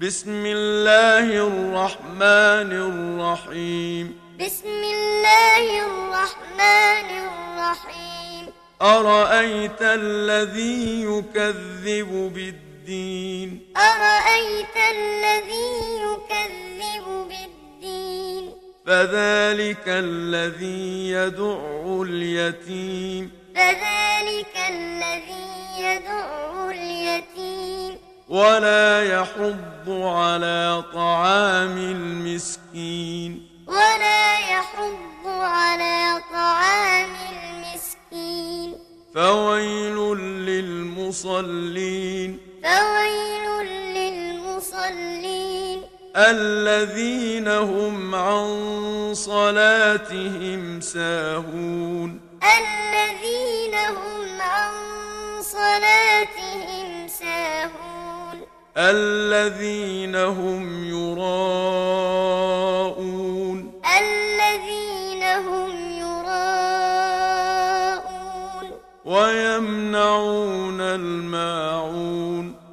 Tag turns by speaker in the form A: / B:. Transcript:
A: بسم الله الرحمن الرحيم
B: بسم الله الرحمن الرحيم
A: أرأيت الذي يكذب بالدين
B: أرأيت الذي يكذب بالدين
A: فذلك الذي يدع اليتيم
B: فذلك الذي يدع اليتيم
A: ولا يحض على طعام المسكين
B: ولا يحض على طعام المسكين
A: فويل للمصلين
B: فويل للمصلين
A: الذين هم عن صلاتهم ساهون
B: الذين هم عن صلاتهم ساهون
A: الذين هم يراءون
B: الذين هم يراءون
A: ويمنعون الماعون